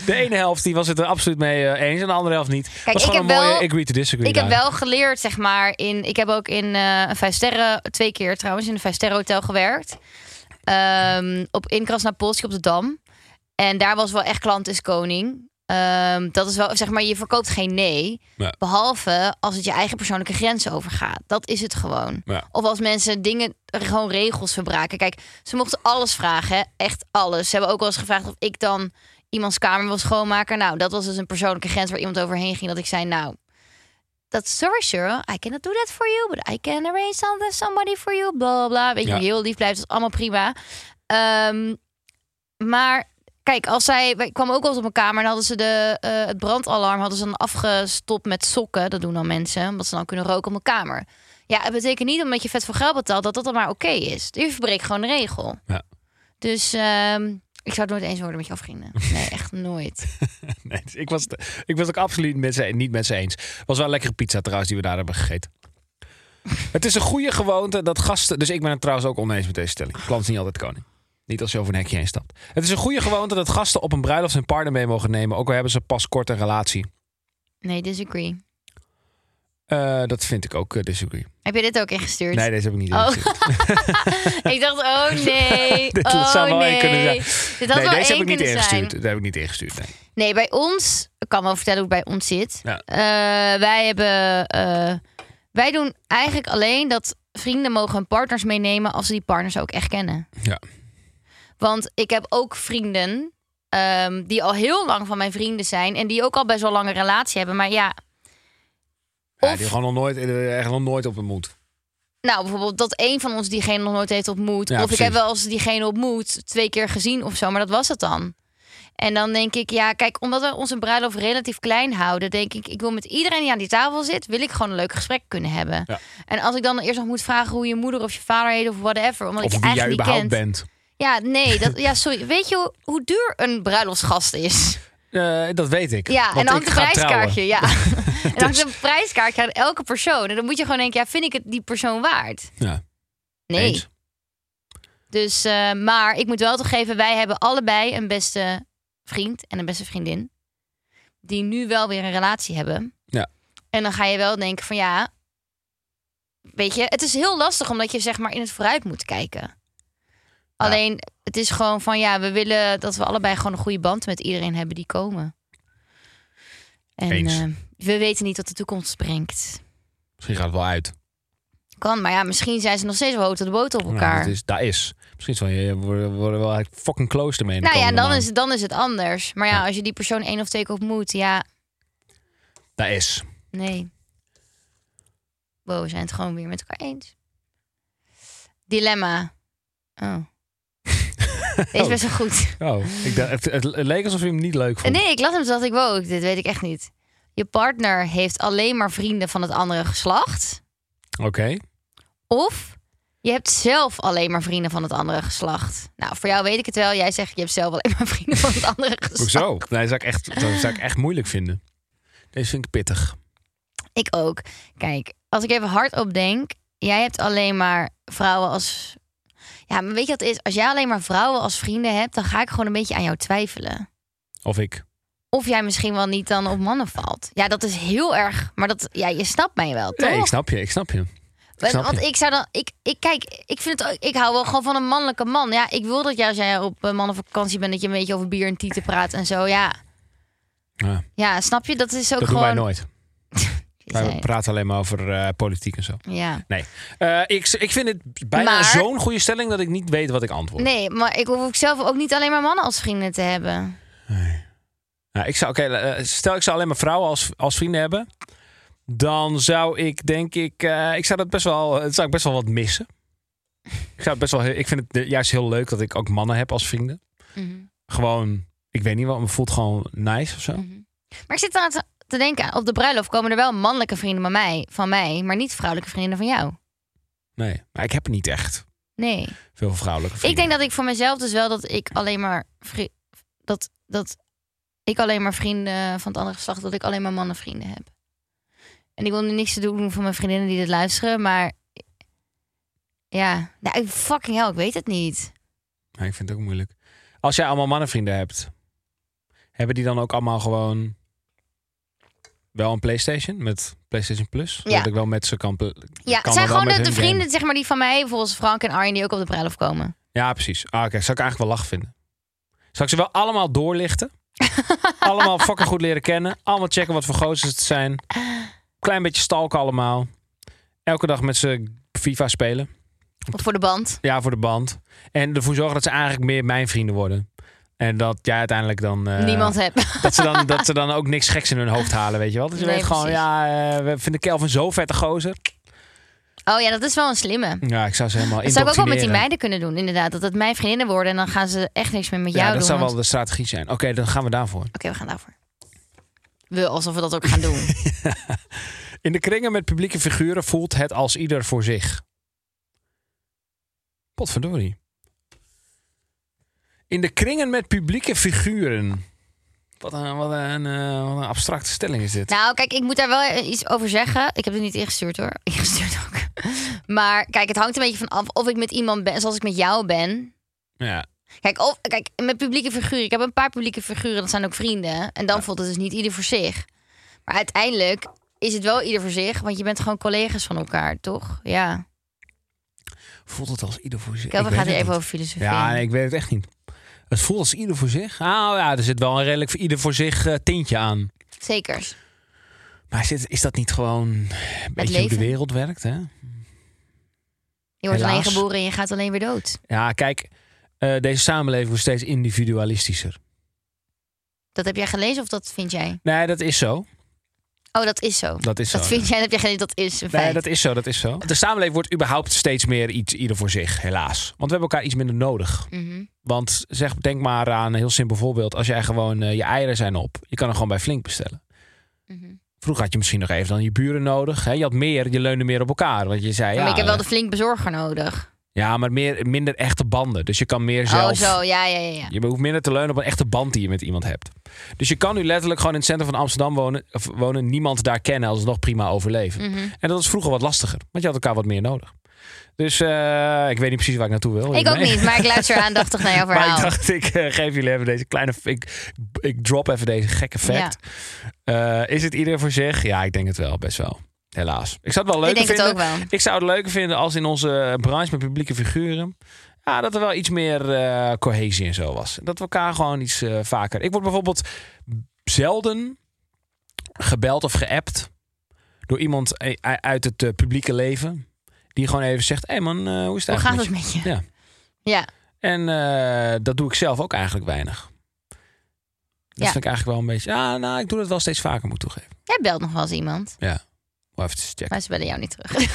Speaker 1: De ene helft die was het er absoluut mee eh, eens en de andere helft niet. was
Speaker 2: ik
Speaker 1: gewoon
Speaker 2: heb
Speaker 1: een mooie
Speaker 2: wel-
Speaker 1: agree to disagree.
Speaker 2: Ik heb
Speaker 1: daar.
Speaker 2: wel geleerd, zeg maar, in. Ik heb ook in eh, een vijf sterren, twee keer trouwens, in een vijf sterren hotel gewerkt. Ehm, op in Krasnapolski op de Dam. En daar was wel echt klant is koning. Ehm, dat is wel, zeg maar, je verkoopt geen nee.
Speaker 1: Ja.
Speaker 2: Behalve als het je eigen persoonlijke grenzen overgaat. Dat is het gewoon.
Speaker 1: Ja.
Speaker 2: Of als mensen dingen, gewoon regels verbraken. Kijk, ze mochten alles vragen, hè? echt alles. Ze hebben ook wel eens gevraagd of ik dan iemands kamer wil schoonmaken. Nou, dat was dus een persoonlijke grens waar iemand overheen ging. Dat ik zei, nou, dat sorry sure, I cannot do that for you, but I can arrange something, somebody for you, bla bla bla. Weet je,
Speaker 1: Ja.
Speaker 2: hoe je heel lief blijft, dat is allemaal prima. Ehm, maar kijk, als zij, wij kwamen ook wel eens op mijn kamer en hadden ze de, eh, het brandalarm hadden ze dan afgestopt met sokken. Dat doen dan mensen, omdat ze dan kunnen roken op mijn kamer. Ja, het betekent niet omdat je vet voor geld betaalt dat dat dan maar oké is. Je verbreekt gewoon de regel.
Speaker 1: Ja.
Speaker 2: Dus ehm, ik zou het nooit eens worden met jouw vrienden. Nee, echt nooit.
Speaker 1: Nee, dus ik, was het, ik was het ook absoluut met ze, niet met ze eens. Was wel een lekkere pizza trouwens die we daar hebben gegeten. Het is een goede gewoonte dat gasten... Dus ik ben het trouwens ook oneens met deze stelling. Klant is niet altijd koning. Niet als je over een hekje heen stapt. Het is een goede gewoonte dat gasten op een bruiloft hun partner mee mogen nemen. Ook al hebben ze pas kort een relatie.
Speaker 2: Nee, disagree.
Speaker 1: Eh, dat vind ik ook eh, disagree.
Speaker 2: Heb je dit ook ingestuurd?
Speaker 1: Nee, deze heb ik niet
Speaker 2: Oh.
Speaker 1: ingestuurd.
Speaker 2: Ik dacht, oh nee.
Speaker 1: Dit
Speaker 2: oh,
Speaker 1: zou wel
Speaker 2: nee.
Speaker 1: één kunnen zijn.
Speaker 2: Dit had
Speaker 1: nee,
Speaker 2: wel
Speaker 1: deze
Speaker 2: één
Speaker 1: heb ik niet
Speaker 2: kunnen zijn.
Speaker 1: ingestuurd. Dat heb ik niet ingestuurd. Nee.
Speaker 2: Nee, bij ons, ik kan wel vertellen hoe het bij ons zit.
Speaker 1: Ja.
Speaker 2: Eh, wij hebben, eh, wij doen eigenlijk alleen dat vrienden mogen hun partners meenemen als ze die partners ook echt kennen.
Speaker 1: Ja.
Speaker 2: Want ik heb ook vrienden ehm, die al heel lang van mijn vrienden zijn en die ook al best wel lang een relatie hebben. Maar ja,
Speaker 1: Ja,
Speaker 2: Of-
Speaker 1: die gewoon nog nooit, eh, echt nog nooit op ontmoet.
Speaker 2: nou bijvoorbeeld dat één van ons diegene nog nooit heeft ontmoet.
Speaker 1: Ja,
Speaker 2: of
Speaker 1: precies.
Speaker 2: ik heb wel eens diegene ontmoet, twee keer gezien of zo, maar dat was het dan. En dan denk ik, ja, kijk, omdat we onze bruiloft relatief klein houden, denk ik, ik wil met iedereen die aan die tafel zit, wil ik gewoon een leuk gesprek kunnen hebben.
Speaker 1: Ja.
Speaker 2: En als ik dan eerst nog moet vragen hoe je moeder of je vader heet of whatever, omdat
Speaker 1: Of
Speaker 2: ik je
Speaker 1: wie jij
Speaker 2: eigenlijk
Speaker 1: überhaupt
Speaker 2: niet kent.
Speaker 1: bent.
Speaker 2: Ja, nee, dat, ja, sorry. Weet je hoe, hoe duur een bruiloftsgast is?
Speaker 1: Eh, dat weet ik.
Speaker 2: Ja, en
Speaker 1: want
Speaker 2: dan
Speaker 1: ik
Speaker 2: hangt een
Speaker 1: ga trouwen. Dus
Speaker 2: prijskaartje, ja. en dan hangt een prijskaartje aan elke persoon. En dan moet je gewoon denken, ja, vind ik het die persoon waard?
Speaker 1: Ja,
Speaker 2: Nee.
Speaker 1: eens.
Speaker 2: Dus, eh, maar ik moet wel toegeven, wij hebben allebei een beste vriend en een beste vriendin. Die nu wel weer een relatie hebben.
Speaker 1: Ja.
Speaker 2: En dan ga je wel denken van ja, weet je, het is heel lastig omdat je zeg maar in het vooruit moet kijken. Alleen, het is gewoon van ja, we willen dat we allebei gewoon een goede band met iedereen hebben die komen. En
Speaker 1: Eens.
Speaker 2: eh, we weten niet wat de toekomst brengt.
Speaker 1: Misschien gaat het wel uit.
Speaker 2: Kan, maar ja, misschien zijn ze nog steeds wel hout op de boot op
Speaker 1: Nou,
Speaker 2: elkaar.
Speaker 1: dat is, daar is. Misschien zal je, worden, worden wel eigenlijk fucking close ermee. in de
Speaker 2: Nou ja,
Speaker 1: komende
Speaker 2: dan
Speaker 1: maand.
Speaker 2: is, het- dan is het anders. Maar ja, als je die persoon één of twee keer ontmoet, ja,
Speaker 1: Daar is.
Speaker 2: nee. Wow, we zijn het gewoon weer met elkaar eens. Dilemma. Oh. Deze is best wel goed.
Speaker 1: Oh, ik dacht, het, het, het leek alsof je hem niet leuk
Speaker 2: En
Speaker 1: vond.
Speaker 2: nee, ik las hem toen dacht ik, wow, dit weet ik echt niet. Je partner heeft alleen maar vrienden van het andere geslacht.
Speaker 1: Oké.
Speaker 2: Of je hebt zelf alleen maar vrienden van het andere geslacht. Nou, voor jou weet ik het wel. Jij zegt, je hebt zelf alleen maar vrienden van het andere geslacht.
Speaker 1: Hoezo? Nee, dat zou, ik echt, dat zou ik echt moeilijk vinden. Deze vind ik pittig.
Speaker 2: Ik ook. Kijk, als ik even hardop denk, jij hebt alleen maar vrouwen als. Ja, maar weet je wat het is? Als jij alleen maar vrouwen als vrienden hebt, dan ga ik gewoon een beetje aan jou twijfelen.
Speaker 1: Of ik.
Speaker 2: Of jij misschien wel niet dan op mannen valt. Ja, dat is heel erg. Maar dat, ja, je snapt mij wel, toch?
Speaker 1: Nee, ik snap je. Ik snap je.
Speaker 2: Want-
Speaker 1: snap
Speaker 2: want
Speaker 1: je.
Speaker 2: ik zou dan, ik, ik kijk, ik vind het ook, ik hou wel gewoon van een mannelijke man. Ja, ik wil dat jij, als jij op eh, mannenvakantie bent, dat je een beetje over bier en tieten praat en zo. Ja,
Speaker 1: Ja,
Speaker 2: ja snap je? Dat is ook
Speaker 1: dat doen
Speaker 2: gewoon.
Speaker 1: wij nooit. Wij
Speaker 2: Zij-
Speaker 1: praten alleen maar over eh, politiek en zo.
Speaker 2: Ja.
Speaker 1: Nee. Eh, ik, ik vind het bijna
Speaker 2: Maar-
Speaker 1: zo'n goede stelling dat ik niet weet wat ik antwoord.
Speaker 2: Nee, maar ik hoef ook zelf ook niet alleen maar mannen als vrienden te hebben.
Speaker 1: Nou, ik zou, oké, eh, stel, ik zou alleen maar vrouwen als, als vrienden hebben. Dan zou ik denk ik, eh, ik zou dat best wel, het zou ik best wel wat missen. Ik, zou het best wel, heel- ik vind het eh, juist heel leuk dat ik ook mannen heb als vrienden. Gewoon, ik weet niet wat, me voelt gewoon nice of zo.
Speaker 2: Maar ik zit aan te, te denken, op de bruiloft komen er wel mannelijke vrienden van mij, van mij, maar niet vrouwelijke vrienden van jou.
Speaker 1: Nee, maar ik heb niet echt
Speaker 2: Nee.
Speaker 1: veel vrouwelijke
Speaker 2: Ik
Speaker 1: vrienden.
Speaker 2: denk dat ik voor mezelf dus wel dat ik alleen maar vri- dat, dat ik alleen maar vrienden van het andere geslacht, dat ik alleen maar mannenvrienden heb. En ik wil nu niks te doen voor mijn vriendinnen die dit luisteren, maar ja, nou, ik- fucking hell, ik weet het niet.
Speaker 1: Ja, ik vind het ook moeilijk. Als jij allemaal mannenvrienden hebt, hebben die dan ook allemaal gewoon wel een PlayStation met PlayStation Plus?
Speaker 2: Ja.
Speaker 1: Dat ik wel met ze kan. pl-
Speaker 2: Ja,
Speaker 1: kan
Speaker 2: het
Speaker 1: wel
Speaker 2: zijn gewoon
Speaker 1: met
Speaker 2: de, de
Speaker 1: hun
Speaker 2: vrienden zeg maar, die van mij, volgens Frank en Arjen, die ook op de bruiloft komen.
Speaker 1: Ja, precies. Ah, Oké, zou ik eigenlijk wel lach vinden. Zal ik ze wel allemaal doorlichten? allemaal fucking goed leren kennen. Allemaal checken wat voor gozers het zijn. Klein beetje stalken allemaal. Elke dag met ze FIFA spelen.
Speaker 2: Voor de band.
Speaker 1: Ja, voor de band. En ervoor zorgen dat ze eigenlijk meer mijn vrienden worden. En dat jij uiteindelijk dan... eh,
Speaker 2: Niemand heb.
Speaker 1: dat, ze dan, dat ze dan ook niks geks in hun hoofd halen, weet je wel. Dus je
Speaker 2: Nee,
Speaker 1: weet gewoon,
Speaker 2: precies.
Speaker 1: ja, eh, we vinden Kelvin zo vette gozer.
Speaker 2: Oh ja, dat is wel een slimme.
Speaker 1: Ja, ik zou ze helemaal
Speaker 2: Dat zou ik ook wel met die
Speaker 1: indoctrineren.
Speaker 2: meiden kunnen doen, inderdaad. Dat het mijn vriendinnen worden en dan gaan ze echt niks meer met jou
Speaker 1: Ja,
Speaker 2: doen.
Speaker 1: dat zou
Speaker 2: want-
Speaker 1: wel de strategie zijn. Oké, dan gaan we daarvoor.
Speaker 2: Oké, we gaan daarvoor. We, alsof we dat ook gaan doen.
Speaker 1: In de kringen met publieke figuren voelt het als ieder voor zich. Potverdorie. In de kringen met publieke figuren. Wat een, wat een, eh, wat een abstracte stelling is dit.
Speaker 2: nou, kijk, ik moet daar wel eh, iets over zeggen. Ik heb het niet ingestuurd hoor. Ingestuurd ook. Maar kijk, het hangt een beetje van af of ik met iemand ben zoals ik met jou ben. Nou-
Speaker 1: Ja,
Speaker 2: Kijk, of, kijk, met publieke figuren. Ik heb een paar publieke figuren, dat zijn ook vrienden. En dan voelt het dus niet ieder voor zich. Maar uiteindelijk is het wel ieder voor zich, want je bent gewoon collega's van elkaar, toch? Ja.
Speaker 1: voelt het als ieder voor zich.
Speaker 2: Kelvin
Speaker 1: Ik
Speaker 2: gaat
Speaker 1: weet
Speaker 2: hier
Speaker 1: het
Speaker 2: even
Speaker 1: niet.
Speaker 2: over filosofie.
Speaker 1: Ja, ik weet het echt niet. Het voelt als ieder voor zich. Ah ja, er zit wel een redelijk voor ieder voor zich eh, tintje aan.
Speaker 2: Zeker.
Speaker 1: Maar is, dit- is dat niet gewoon een beetje hoe
Speaker 2: leven.
Speaker 1: de wereld werkt? Hè?
Speaker 2: Je wordt alleen
Speaker 1: Helaas.
Speaker 2: geboren en je gaat alleen weer dood.
Speaker 1: Ja, kijk, eh, deze samenleving wordt steeds individualistischer.
Speaker 2: Dat heb jij gelezen of dat vind jij?
Speaker 1: Nee, dat is zo.
Speaker 2: Oh, dat is zo.
Speaker 1: Dat is zo.
Speaker 2: Dat vind jij, dat heb jij gelezen, dat is een feit.
Speaker 1: Nee, dat is zo, dat is zo. De samenleving wordt überhaupt steeds meer iets ieder voor zich, helaas. Want we hebben elkaar iets minder nodig.
Speaker 2: Mhm.
Speaker 1: Want zeg, denk maar aan een heel simpel voorbeeld. Als jij gewoon eh, je eieren zijn op, je kan er gewoon bij Flink bestellen.
Speaker 2: Mhm.
Speaker 1: Vroeger had je misschien nog even dan je buren nodig. Hè? Je had meer, je leunde meer op elkaar. Want je zei, ja,
Speaker 2: maar ik heb wel
Speaker 1: eh,
Speaker 2: de flink bezorger nodig.
Speaker 1: ja maar meer, minder echte banden. Dus je kan meer zelf...
Speaker 2: Oh, zo, ja, ja, ja. ja.
Speaker 1: Je hoeft minder te leunen op een echte band die je met iemand hebt. Dus je kan nu letterlijk gewoon in het centrum van Amsterdam wonen, of wonen niemand daar kennen, alsnog prima overleven.
Speaker 2: Mhm.
Speaker 1: En dat was vroeger wat lastiger, want je had elkaar wat meer nodig. Dus eh, ik weet niet precies waar ik naartoe wil.
Speaker 2: Ik ook
Speaker 1: hiermee.
Speaker 2: niet, maar ik luister aandachtig naar jouw verhaal.
Speaker 1: Oh, Maar ik dacht, ik eh, geef jullie even deze kleine. Ik, ik drop even deze gekke fact. Eh, is het ieder voor zich? Ja, ik denk het wel, best wel. Helaas. Ik zou het wel leuk
Speaker 2: ik denk
Speaker 1: vinden.
Speaker 2: het ook wel.
Speaker 1: Ik zou het leuker vinden als in onze branche met publieke figuren. Ja, dat er wel iets meer eh, cohesie en zo was. Dat we elkaar gewoon iets eh, vaker. Ik word bijvoorbeeld zelden gebeld of geappt door iemand eh, uit het eh, publieke leven. Die gewoon even zegt: Hé hey man, eh, hoe is het
Speaker 2: Hoe gaat
Speaker 1: eigenlijk?
Speaker 2: het met je?
Speaker 1: Ja.
Speaker 2: Ja,
Speaker 1: met je?" En eh, dat doe ik zelf ook eigenlijk weinig. Dat
Speaker 2: Ja.
Speaker 1: vind ik eigenlijk wel een beetje. Ja, nou, ik doe dat wel steeds vaker, moet ik toegeven.
Speaker 2: jij belt nog wel eens iemand,
Speaker 1: Om even te checken.
Speaker 2: maar ze bellen jou niet terug.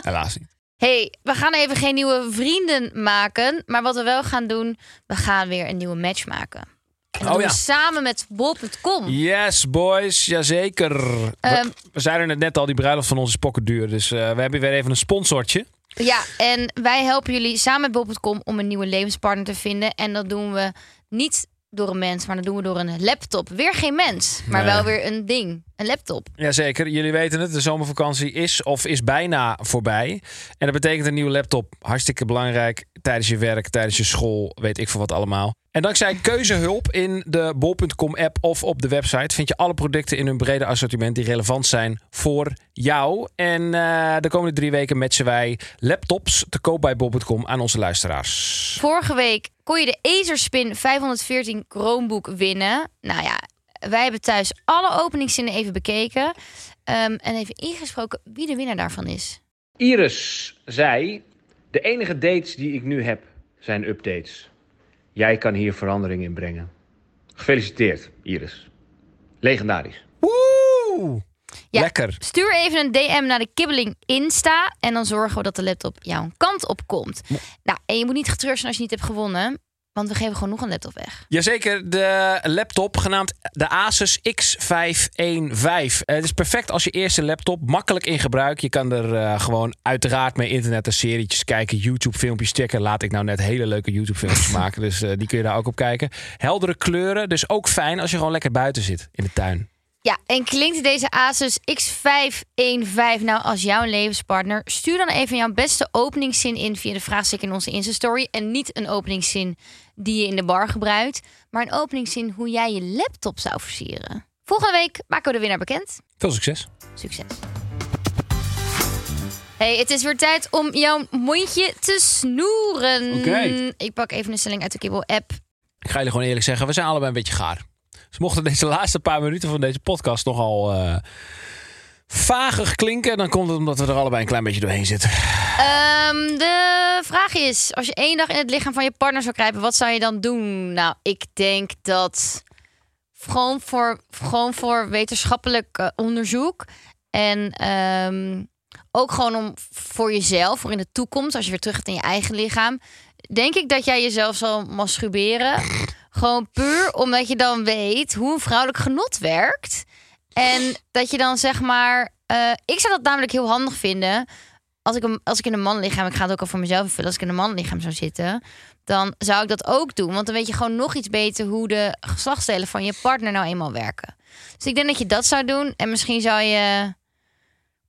Speaker 1: Helaas niet.
Speaker 2: hey, we gaan even geen nieuwe vrienden maken, maar wat we wel gaan doen, we gaan weer een nieuwe match maken. En dat
Speaker 1: Oh
Speaker 2: doen
Speaker 1: ja.
Speaker 2: we samen met bol.com.
Speaker 1: Yes, boys. Jazeker.
Speaker 2: Ehm,
Speaker 1: We zeiden het net al, die bruiloft van ons is pokkenduur. Dus eh, we hebben weer even een sponsortje.
Speaker 2: Ja, en wij helpen jullie samen met Bob.com om een nieuwe levenspartner te vinden. En dat doen we niet door een mens, maar dat doen we door een laptop. Weer geen mens, maar
Speaker 1: Nee.
Speaker 2: wel weer een ding. Een laptop.
Speaker 1: Jazeker, jullie weten het. De zomervakantie is of is bijna voorbij. En dat betekent een nieuwe laptop. Hartstikke belangrijk tijdens je werk, tijdens je school, weet ik veel wat allemaal. En dankzij keuzehulp in de bol.com app of op de website... vind je alle producten in hun brede assortiment die relevant zijn voor jou. En eh, de komende drie weken matchen wij laptops te koop bij bol.com aan onze luisteraars.
Speaker 2: Vorige week kon je de Acer Spin 514 Chromebook winnen. Nou ja, wij hebben thuis alle openingszinnen even bekeken. ehm, en even ingesproken wie de winnaar daarvan is.
Speaker 4: Iris zei: De enige dates die ik nu heb zijn updates. Jij kan hier verandering in brengen. Gefeliciteerd, Iris. Legendarisch.
Speaker 1: Woe!
Speaker 2: Ja.
Speaker 1: Lekker.
Speaker 2: Stuur even een DM naar de kibbeling Insta. En dan zorgen we dat de laptop jouw kant op komt. Nou, en je moet niet getreurd zijn als je niet hebt gewonnen. Want we geven gewoon nog een laptop weg.
Speaker 1: Jazeker, de laptop genaamd de Asus X515. Eh, Het is perfect als je eerste laptop, makkelijk in gebruik. Je kan er eh, gewoon uiteraard mee internet en serietjes kijken, YouTube-filmpjes checken. Laat ik nou net hele leuke YouTube-filmpjes maken, dus eh, die kun je daar ook op kijken. Heldere kleuren, dus ook fijn als je gewoon lekker buiten zit in de tuin.
Speaker 2: Ja, en klinkt deze Asus X515 nou als jouw levenspartner? Stuur dan even jouw beste openingszin in via de vraagstuk in onze Insta-story. En niet een openingszin die je in de bar gebruikt, maar een openingszin hoe jij je laptop zou versieren. Volgende week maken we de winnaar bekend.
Speaker 1: Veel succes.
Speaker 2: Succes. Hey, het is weer tijd om jouw mondje te snoeren.
Speaker 1: Oké.
Speaker 2: Ik pak even een stelling uit de Kibbel-app.
Speaker 1: Ik ga jullie gewoon eerlijk zeggen, we zijn allebei een beetje gaar. Dus mochten deze laatste paar minuten van deze podcast nogal eh vagig klinken... dan komt het omdat we er allebei een klein beetje doorheen zitten.
Speaker 2: Ehm, de vraag is, als je één dag in het lichaam van je partner zou kruipen, wat zou je dan doen? Nou, ik denk dat gewoon voor, gewoon voor wetenschappelijk eh, onderzoek en ehm, ook gewoon om voor jezelf, voor in de toekomst, als je weer terug gaat in je eigen lichaam, denk ik dat jij jezelf zal masturberen. Gewoon puur omdat je dan weet hoe een vrouwelijk genot werkt. En dat je dan zeg maar. eh, ik zou dat namelijk heel handig vinden. Als ik, hem- als ik in een manlichaam, ik ga het ook al voor mezelf invullen, als ik in een manlichaam zou zitten, dan zou ik dat ook doen. Want dan weet je gewoon nog iets beter hoe de geslachtsdelen van je partner nou eenmaal werken. Dus ik denk dat je dat zou doen. En misschien zou je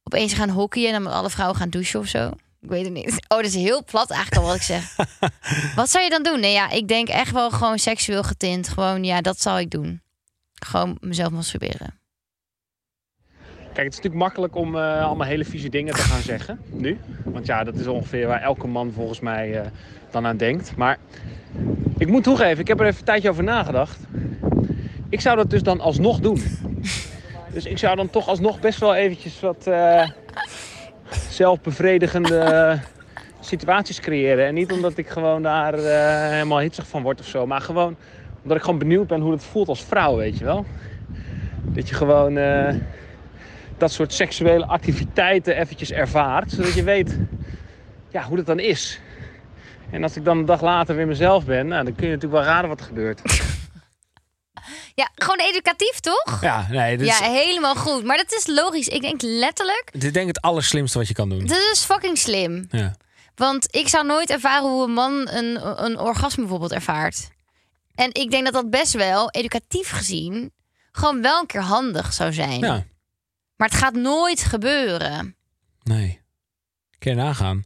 Speaker 2: opeens gaan hockeyen en dan met alle vrouwen gaan douchen of zo. Ik weet het niet. Oh, dat is heel plat eigenlijk al wat ik zeg. wat zou je dan doen? Nee, ja, ik denk echt wel gewoon seksueel getint. Gewoon, ja, dat zou ik doen. Gewoon mezelf masturberen.
Speaker 4: Kijk, het is natuurlijk makkelijk om eh, allemaal hele vieze dingen te gaan zeggen nu. Want ja, dat is ongeveer waar elke man volgens mij eh, dan aan denkt. Maar ik moet toegeven, ik heb er even een tijdje over nagedacht. Ik zou dat dus dan alsnog doen. Dus ik zou dan toch alsnog best wel eventjes wat eh, zelfbevredigende eh, situaties creëren. En niet omdat ik gewoon daar eh, helemaal hitsig van word of zo. Maar gewoon omdat ik gewoon benieuwd ben hoe het voelt als vrouw, weet je wel. Dat je gewoon... eh, dat soort seksuele activiteiten eventjes ervaart. Zodat je weet ja, hoe dat dan is. En als ik dan een dag later weer mezelf ben, nou, dan kun je natuurlijk wel raden wat er gebeurt.
Speaker 2: Ja, gewoon educatief, toch?
Speaker 1: Ja, dus- nee, dit,
Speaker 2: Ja,
Speaker 1: is-
Speaker 2: helemaal goed. Maar dat is logisch. Ik denk letterlijk,
Speaker 1: dit is denk ik het allerslimste wat je kan doen.
Speaker 2: dat is fucking slim.
Speaker 1: Ja.
Speaker 2: Want ik zou nooit ervaren hoe een man een, een orgasme bijvoorbeeld ervaart. En ik denk dat dat best wel, educatief gezien, gewoon wel een keer handig zou zijn.
Speaker 1: ja,
Speaker 2: Maar het gaat nooit gebeuren.
Speaker 1: nee. Kun je nagaan.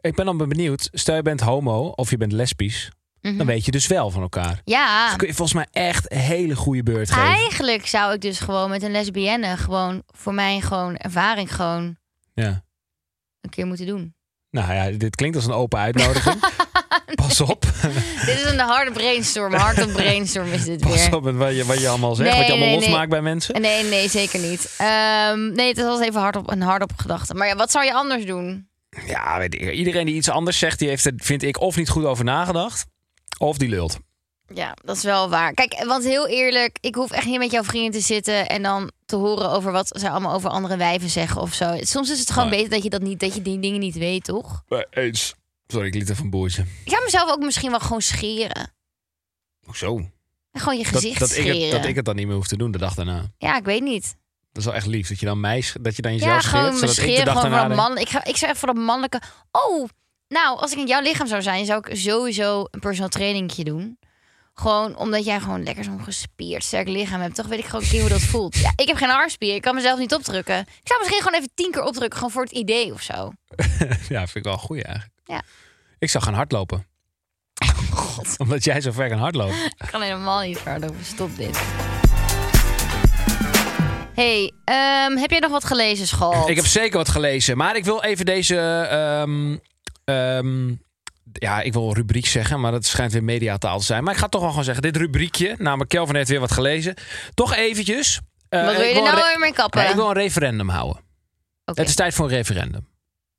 Speaker 1: Ik ben dan benieuwd, stel je bent homo of je bent lesbisch, dan weet je dus wel van elkaar.
Speaker 2: Mhm. Ja,
Speaker 1: Dan kun je volgens mij echt een hele goede beurt geven.
Speaker 2: eigenlijk zou ik dus gewoon met een lesbienne gewoon voor mij gewoon ervaring gewoon
Speaker 1: Ja.
Speaker 2: een keer moeten doen.
Speaker 1: Nou ja, dit klinkt als een open uitnodiging. Pas op.
Speaker 2: Dit is een harde brainstorm, hard op brainstorm is dit weer.
Speaker 1: Pas op met wat je, wat je allemaal zegt,
Speaker 2: Nee,
Speaker 1: wat je allemaal
Speaker 2: nee, nee.
Speaker 1: losmaakt bij mensen.
Speaker 2: Nee, nee, zeker niet. Ehm, nee, dat was even hard op, een hardop gedachte. Maar ja, wat zou je anders doen?
Speaker 1: Ja, weet ik. Iedereen die iets anders zegt, die heeft er, vind ik, of niet goed over nagedacht, of die lult.
Speaker 2: Ja, dat is wel waar. Kijk, want heel eerlijk, ik hoef echt niet met jouw vrienden te zitten en dan te horen over wat zij allemaal over andere wijven zeggen of zo. Soms is het gewoon
Speaker 1: Nee.
Speaker 2: beter dat je dat niet, dat je die dingen niet weet, toch?
Speaker 1: Eens. Sorry, ik liet even een boertje.
Speaker 2: Ik zou mezelf ook misschien wel gewoon scheren.
Speaker 1: Hoezo?
Speaker 2: En Gewoon je
Speaker 1: Dat,
Speaker 2: gezicht
Speaker 1: dat, ik
Speaker 2: scheren.
Speaker 1: het, dat ik het dan niet meer hoef te doen de dag daarna.
Speaker 2: Ja, ik weet niet.
Speaker 1: Dat is wel echt lief. Dat je dan, mij, sch- dat je dan jezelf
Speaker 2: Ja,
Speaker 1: scheert.
Speaker 2: gewoon me
Speaker 1: Zodat ik de
Speaker 2: scheren
Speaker 1: dag
Speaker 2: gewoon
Speaker 1: daarna
Speaker 2: voor een
Speaker 1: denk,
Speaker 2: man. Ik, ga, ik zou echt voor een mannelijke. Oh, nou, als ik in jouw lichaam zou zijn, zou ik sowieso een personal trainingje doen. Gewoon omdat jij gewoon lekker zo'n gespierd, sterk lichaam hebt. Toch weet ik gewoon een keer hoe dat voelt. Ja, ik heb geen armspier. Ik kan mezelf niet opdrukken. Ik zou misschien gewoon even tien keer opdrukken. Gewoon voor het idee of zo.
Speaker 1: Ja, vind ik wel goed eigenlijk.
Speaker 2: Ja.
Speaker 1: Ik zou gaan hardlopen. Omdat jij zo ver kan hardlopen.
Speaker 2: Ik kan helemaal niet verder over. Stop dit. hey, ehm, heb jij nog wat gelezen, school?
Speaker 1: Ik heb zeker wat gelezen. Maar ik wil even deze... ehm, ehm, ja, ik wil rubriek zeggen, maar dat schijnt weer mediataal te zijn. Maar ik ga het toch wel gewoon zeggen. Dit rubriekje, namelijk Kelvin heeft weer wat gelezen. Toch eventjes. eh,
Speaker 2: Wat wil je
Speaker 1: ik
Speaker 2: er nou
Speaker 1: een re-
Speaker 2: weer mee kappen?
Speaker 1: Nee, ik wil een referendum houden.
Speaker 2: Oké,
Speaker 1: Het is tijd voor een referendum.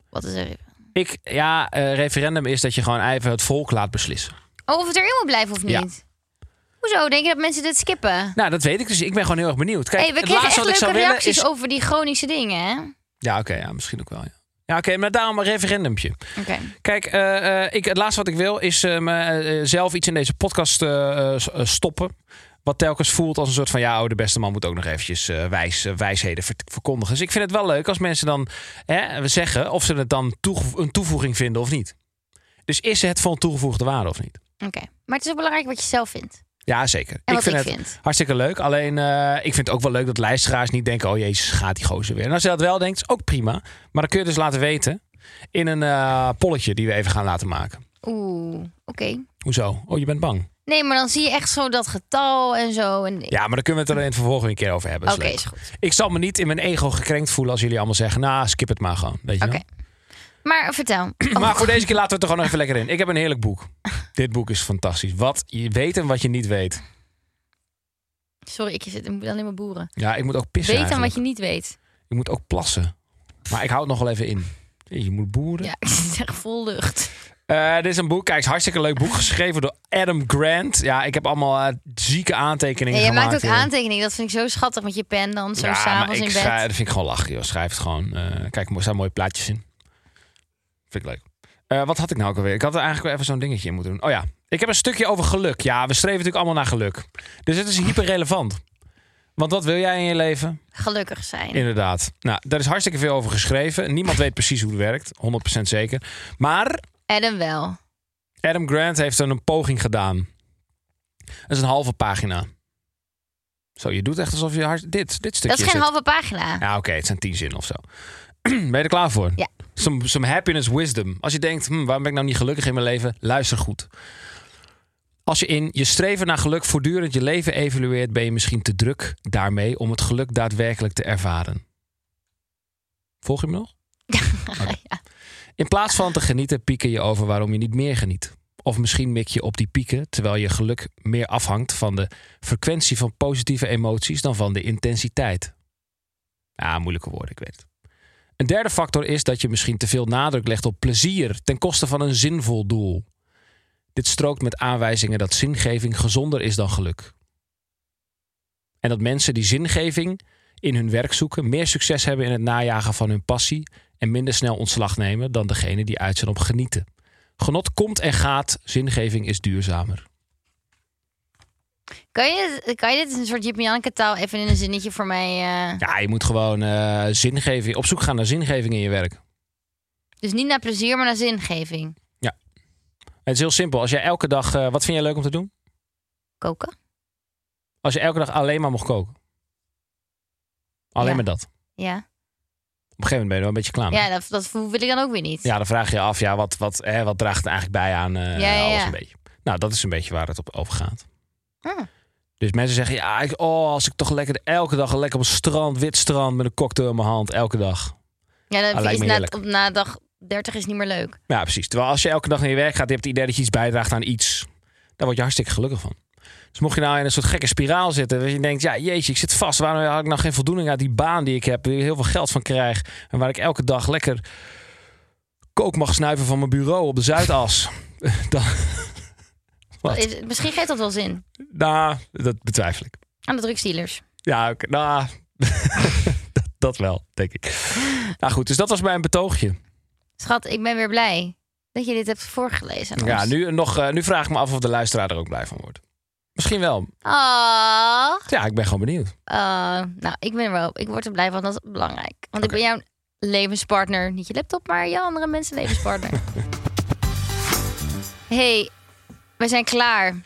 Speaker 2: wat is er?
Speaker 1: Ik, ja, eh, referendum is dat je gewoon even het volk laat beslissen.
Speaker 2: Oh, of het erin moet blijven of
Speaker 1: Ja.
Speaker 2: niet? Hoezo? Denk je dat mensen dit skippen?
Speaker 1: Nou, dat weet ik dus. Ik ben gewoon heel erg benieuwd. Kijk,
Speaker 2: hey, we
Speaker 1: het
Speaker 2: kregen
Speaker 1: laatste
Speaker 2: echt
Speaker 1: wat ik zou
Speaker 2: leuke
Speaker 1: willen
Speaker 2: reacties
Speaker 1: is...
Speaker 2: over die Groningse dingen, hè?
Speaker 1: Ja, oké, ja, misschien ook wel. Ja. Ja, oké, maar daarom een referendumpje.
Speaker 2: Oké.
Speaker 1: Kijk, eh, eh, ik, het laatste wat ik wil is eh, me, eh, zelf iets in deze podcast eh, eh, s- eh, stoppen. Wat telkens voelt als een soort van... ja, oh, de beste man moet ook nog eventjes eh, wijs, eh, wijsheden ver- verkondigen. Dus ik vind het wel leuk als mensen dan hè, we zeggen... of ze het dan toege- een toevoeging vinden of niet. Dus is het van toegevoegde waarde of niet?
Speaker 2: Oké. Maar het is ook belangrijk wat je zelf vindt.
Speaker 1: Ja, zeker.
Speaker 2: En wat
Speaker 1: vind
Speaker 2: ik
Speaker 1: het
Speaker 2: vind.
Speaker 1: hartstikke leuk. Alleen, eh, ik vind het ook wel leuk dat luisteraars niet denken... oh jezus, gaat die gozer weer. En als je dat wel denkt, is ook prima. Maar dan kun je dus laten weten... in een eh, polletje die we even gaan laten maken.
Speaker 2: Oeh, oké.
Speaker 1: Hoezo? Oh, je bent bang.
Speaker 2: Nee, maar dan zie je echt zo dat getal en zo. En...
Speaker 1: Ja, maar dan kunnen we het er in het vervolg weer een keer over hebben.
Speaker 2: oké,
Speaker 1: Dat is leuk.
Speaker 2: is goed.
Speaker 1: Ik zal me niet in mijn ego gekrenkt voelen als jullie allemaal zeggen... nou, skip het maar gewoon. Weet je
Speaker 2: Oké.
Speaker 1: wel?
Speaker 2: Maar vertel. Oh,
Speaker 1: Maar voor deze keer laten we het er gewoon even lekker in. Ik heb een heerlijk boek. Dit boek is fantastisch. Wat je weet en wat je niet weet.
Speaker 2: Sorry, ik zit alleen maar boeren.
Speaker 1: Ja, ik moet ook pissen
Speaker 2: Weet dan
Speaker 1: eigenlijk.
Speaker 2: wat je niet weet.
Speaker 1: Ik moet ook plassen. Maar ik hou het nog wel even in. Je moet boeren.
Speaker 2: Ja, ik zit echt vol lucht.
Speaker 1: Eh, dit is een boek, kijk, het is hartstikke leuk boek. Geschreven door Adam Grant. Ja, ik heb allemaal eh, zieke aantekeningen
Speaker 2: Ja, je
Speaker 1: gemaakt.
Speaker 2: maakt ook
Speaker 1: hier.
Speaker 2: aantekeningen. Dat vind ik zo schattig met je pen dan, zo
Speaker 1: ja, maar
Speaker 2: s'avonds
Speaker 1: ik
Speaker 2: in
Speaker 1: schrij-
Speaker 2: bed.
Speaker 1: dat vind ik gewoon lachen, joh. Schrijf het gewoon. Eh, kijk, er staan mooie plaatjes in. Vind ik leuk. Eh, wat had ik nou ook alweer? Ik had er eigenlijk wel even zo'n dingetje in moeten doen. Oh ja, ik heb een stukje over geluk. Ja, we streven natuurlijk allemaal naar geluk. Dus het is hyperrelevant. Want wat wil jij in je leven?
Speaker 2: Gelukkig zijn.
Speaker 1: Inderdaad. Nou, daar is hartstikke veel over geschreven. Niemand weet precies hoe het werkt. 100% zeker. Maar
Speaker 2: Adam wel.
Speaker 1: Adam Grant heeft er een poging gedaan. Dat is een halve pagina. Zo, je doet echt alsof je hart... Dit, dit stukje
Speaker 2: Dat is geen
Speaker 1: het.
Speaker 2: halve pagina.
Speaker 1: Ja, oké, het zijn tien zinnen of zo. ben je er klaar voor?
Speaker 2: Ja.
Speaker 1: Some, some happiness wisdom. Als je denkt, hm, waarom ben ik nou niet gelukkig in mijn leven? Luister goed. Als je in je streven naar geluk voortdurend je leven evalueert... ben je misschien te druk daarmee om het geluk daadwerkelijk te ervaren. Volg je me nog?
Speaker 2: Ja.
Speaker 1: In plaats van te genieten, pieken je over waarom je niet meer geniet. Of misschien mik je op die pieken, terwijl je geluk meer afhangt van de frequentie van positieve emoties dan van de intensiteit. Ja, moeilijke woorden, ik weet het. Een derde factor is dat je misschien te veel nadruk legt op plezier ten koste van een zinvol doel. Dit strookt met aanwijzingen dat zingeving gezonder is dan geluk. En dat mensen die zingeving in hun werk zoeken meer succes hebben in het najagen van hun passie en minder snel ontslag nemen dan degene die uit zijn op genieten. Genot komt en gaat, zingeving is duurzamer.
Speaker 2: Kan, je, kan je dit in een soort Jip en Janneke taal even in een zinnetje voor mij... eh,
Speaker 1: Ja, je moet gewoon eh, zingeving, op zoek gaan naar zingeving in je werk.
Speaker 2: Dus niet naar plezier, maar naar zingeving.
Speaker 1: Het is heel simpel. Als jij elke dag, eh, wat vind jij leuk om te doen?
Speaker 2: Koken?
Speaker 1: Als je elke dag alleen maar mocht koken. Alleen
Speaker 2: Ja.
Speaker 1: maar dat. Op
Speaker 2: Ja.
Speaker 1: een gegeven moment ben je er wel een beetje klaar mee.
Speaker 2: Ja, dat, dat wil ik dan ook weer niet.
Speaker 1: Ja, dan vraag je je af, ja, wat, wat, hè, wat draagt er eigenlijk bij aan eh,
Speaker 2: Ja, ja,
Speaker 1: alles
Speaker 2: ja.
Speaker 1: een beetje. Nou, dat is een beetje waar het op over gaat.
Speaker 2: Ah.
Speaker 1: Dus mensen zeggen, ja, ik, oh, als ik toch lekker elke dag lekker op het strand, wit strand, met een cocktail in mijn hand, elke dag.
Speaker 2: Ja,
Speaker 1: Ah,
Speaker 2: dan
Speaker 1: lijkt
Speaker 2: is
Speaker 1: me
Speaker 2: na,
Speaker 1: heerlijk.
Speaker 2: op, na dag 30 is niet meer leuk.
Speaker 1: Ja, precies. Terwijl als je elke dag naar je werk gaat, je hebt het idee dat je iets bijdraagt aan iets. Daar word je hartstikke gelukkig van. Dus mocht je nou in een soort gekke spiraal zitten, dat je denkt, ja, jeetje, ik zit vast. Waarom had ik nou geen voldoening uit die baan die ik heb, waar ik heel veel geld van krijg en waar ik elke dag lekker kook mag snuiven van mijn bureau op de Zuidas? Dan, Wat?
Speaker 2: Is, misschien geeft dat wel zin.
Speaker 1: nou, dat betwijfel ik.
Speaker 2: Aan de drugsdealers.
Speaker 1: Ja, oké. nou, dat, dat wel, denk ik. Nou goed, dus dat was mijn betoogje.
Speaker 2: Schat, ik ben weer blij dat je dit hebt voorgelezen. aan
Speaker 1: Ja,
Speaker 2: ons.
Speaker 1: nu, nog, eh, nu vraag ik me af of de luisteraar er ook blij van wordt. Misschien wel.
Speaker 2: Ah.
Speaker 1: Ja, ik ben gewoon benieuwd.
Speaker 2: Ah, nou, ik ben er wel. Ik word er blij van. Dat is belangrijk. Want ik ben jouw levenspartner. Niet je laptop, maar je andere mensen levenspartner. hey, we zijn klaar.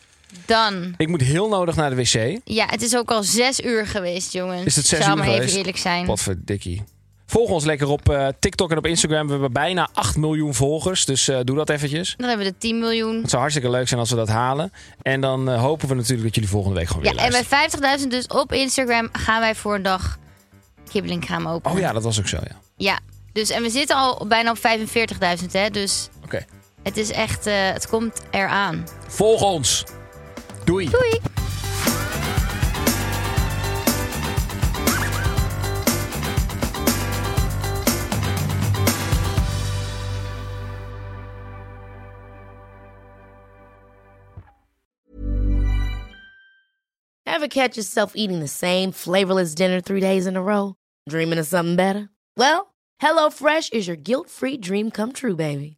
Speaker 2: Dan.
Speaker 1: Ik moet heel nodig naar de wc.
Speaker 2: Ja, het is ook al zes uur geweest, jongens.
Speaker 1: Is het zes
Speaker 2: Zou
Speaker 1: uur
Speaker 2: maar
Speaker 1: geweest?
Speaker 2: even eerlijk zijn.
Speaker 1: Wat voor dikkie. Volg ons lekker op eh, TikTok en op Instagram. We hebben bijna 8 miljoen volgers, dus eh, doe dat eventjes.
Speaker 2: Dan hebben we de 10 miljoen.
Speaker 1: Het zou hartstikke leuk zijn als we dat halen. En dan eh, hopen we natuurlijk dat jullie volgende week gewoon
Speaker 2: Ja,
Speaker 1: weer
Speaker 2: en bij
Speaker 1: luisteren.
Speaker 2: 50.000 dus op Instagram gaan wij voor een dag kibbelingkraam openen.
Speaker 1: Oh ja, dat was ook zo, ja.
Speaker 2: Ja, dus en we zitten al bijna op 45.000 hè, dus
Speaker 1: Oké.
Speaker 2: het is echt, eh, het komt eraan.
Speaker 1: Volg ons. Doei.
Speaker 2: Doei!
Speaker 5: Ever catch yourself eating the same flavorless dinner three days in a row? Dreaming of something better? Well, HelloFresh is your guilt-free dream come true, baby.